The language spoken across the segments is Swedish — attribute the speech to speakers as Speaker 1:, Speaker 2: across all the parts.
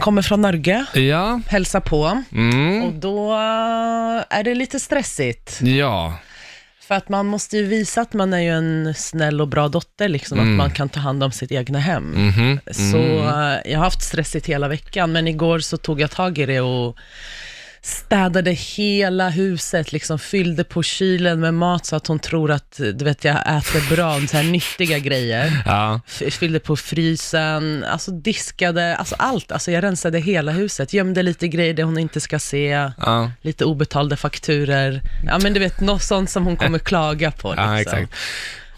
Speaker 1: kommer från Norge,
Speaker 2: Ja.
Speaker 1: hälsar på.
Speaker 2: Mm.
Speaker 1: Och då eh, är det lite stressigt.
Speaker 2: Ja.
Speaker 1: För att man måste ju visa att man är ju en snäll och bra dotter, liksom att man kan ta hand om sitt egna hem.
Speaker 2: Mm. Mhm.
Speaker 1: Så eh, jag har haft stressigt hela veckan, men igår så tog jag tag i det och städade hela huset, liksom fyllde på kylen med mat så att hon tror att, du vet, jag äter bra, så här nyttiga grejer.
Speaker 2: Ja.
Speaker 1: F- fyllde på frysen, alltså diskade, alltså allt. Alltså jag rensade hela huset, gömde lite grejer där hon inte ska se,
Speaker 2: Ja.
Speaker 1: lite obetalda fakturer. Ja men du vet, något sånt som hon kommer klaga på. Liksom.
Speaker 2: ja, exakt.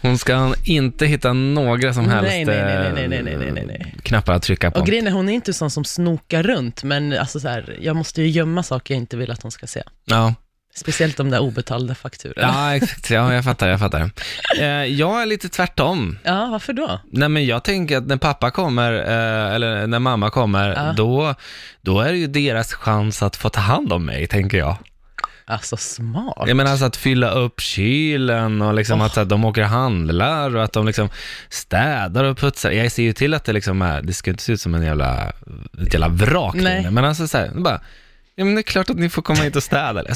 Speaker 2: Hon ska inte hitta några som helst
Speaker 1: Nej, nej, nej,
Speaker 2: eh,
Speaker 1: nej, nej, nej, nej, nej, nej.
Speaker 2: knappar att trycka på.
Speaker 1: Och grejen är, hon är inte sån som snokar runt, men alltså så här, jag måste ju gömma saker jag inte vill att hon ska se.
Speaker 2: ja.
Speaker 1: Speciellt de där obetalda fakturorna. Ja,
Speaker 2: ja, exakt. Ja, jag fattar, jag fattar. Eh, jag är lite tvärtom.
Speaker 1: varför då?
Speaker 2: Nej, men jag tänker att när pappa kommer, eh, eller när mamma kommer,
Speaker 1: Ja.
Speaker 2: då, då är det ju deras chans att få ta hand om mig, tänker jag.
Speaker 1: Alltså smart.
Speaker 2: Jag menar alltså att fylla upp kylen och liksom att, så att de åker och handlar och att de liksom städar och putsar. Jag ser ju till att det liksom är, det ska inte se ut som en jävla, ett jävla vrak där
Speaker 1: Nej.
Speaker 2: inne. Men alltså så här, bara, ja men det är klart att ni får komma hit och städa.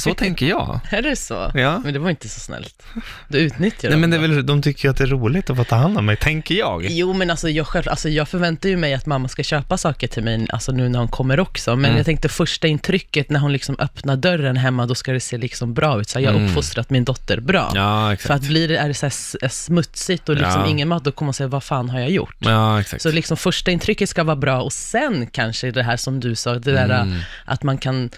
Speaker 2: Så tänker jag.
Speaker 1: Är det så?
Speaker 2: Ja.
Speaker 1: Men det var inte så snällt. Du utnyttjar
Speaker 2: Nej
Speaker 1: dem
Speaker 2: men det är
Speaker 1: då.
Speaker 2: väl, de tycker ju att det är roligt att få ta hand om mig, tänker jag.
Speaker 1: Jo, men alltså jag, själv, alltså jag förväntar ju mig att mamma ska köpa saker till mig, alltså nu när hon kommer också,
Speaker 2: Mm.
Speaker 1: men jag tänkte första intrycket när hon liksom öppnar dörren hemma, då ska det se liksom bra ut, så här, jag har uppfostrat min dotter bra.
Speaker 2: Mm. Ja,
Speaker 1: För
Speaker 2: exakt.
Speaker 1: att blir det, är det så här s- eh, smutsigt och liksom
Speaker 2: Ja.
Speaker 1: ingen mat, då kommer hon säga, vad fan har jag gjort?
Speaker 2: Ja, exakt.
Speaker 1: Så liksom första intrycket ska vara bra och sen kanske det här som du sa, det där
Speaker 2: Mm.
Speaker 1: äh, att man kan,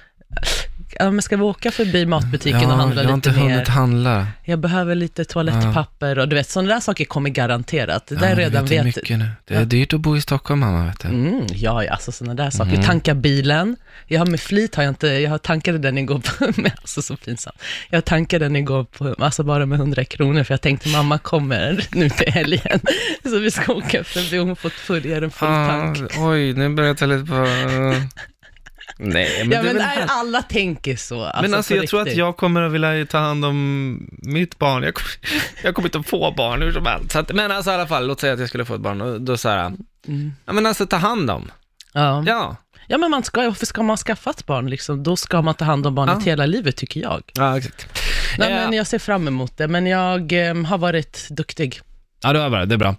Speaker 1: ja, men ska vi åka förbi matbutiken och handla
Speaker 2: jag har
Speaker 1: lite
Speaker 2: inte
Speaker 1: mer?
Speaker 2: hunnit handla.
Speaker 1: Jag behöver lite toalettpapper och du vet, sådana där saker kommer garanterat. Det där
Speaker 2: Ja,
Speaker 1: redan
Speaker 2: vet jag
Speaker 1: vet,
Speaker 2: mycket nu. Det är dyrt att bo i Stockholm, mamma, vet du.
Speaker 1: Mm, ja, ja, alltså sådana där
Speaker 2: Mhm.
Speaker 1: saker. Tanka bilen. Jag har med flit har jag inte, jag har tankade den igår, på, men alltså så pinsamt. Jag tankade den igår, på, alltså bara med 100 kronor, för jag tänkte mamma kommer nu till helgen, så vi ska åka förbi, hon har fått följa en full tank.
Speaker 2: Ah, oj, nu börjar jag ta lite på... Nej, men
Speaker 1: Ja,
Speaker 2: det är
Speaker 1: men
Speaker 2: väl
Speaker 1: nej, alla tänker så. Alltså,
Speaker 2: Men alltså
Speaker 1: på
Speaker 2: jag tror att
Speaker 1: riktigt.
Speaker 2: jag kommer att vilja ta hand om mitt barn. Jag kommer, jag kommer inte att få barn hur som helst. Så att, men alltså i alla fall, låt säga att jag skulle få ett barn. och Då så här, ja men alltså ta hand om.
Speaker 1: Ja.
Speaker 2: Ja,
Speaker 1: ja, men man ska, varför ska man skaffa ett barn liksom? Då ska man ta hand om barnet
Speaker 2: Ja.
Speaker 1: hela livet, tycker jag.
Speaker 2: ja exakt.
Speaker 1: Nej,
Speaker 2: Ja.
Speaker 1: men jag ser fram emot det, men jag eh, har varit duktig.
Speaker 2: Ja, det var bra, det är bra.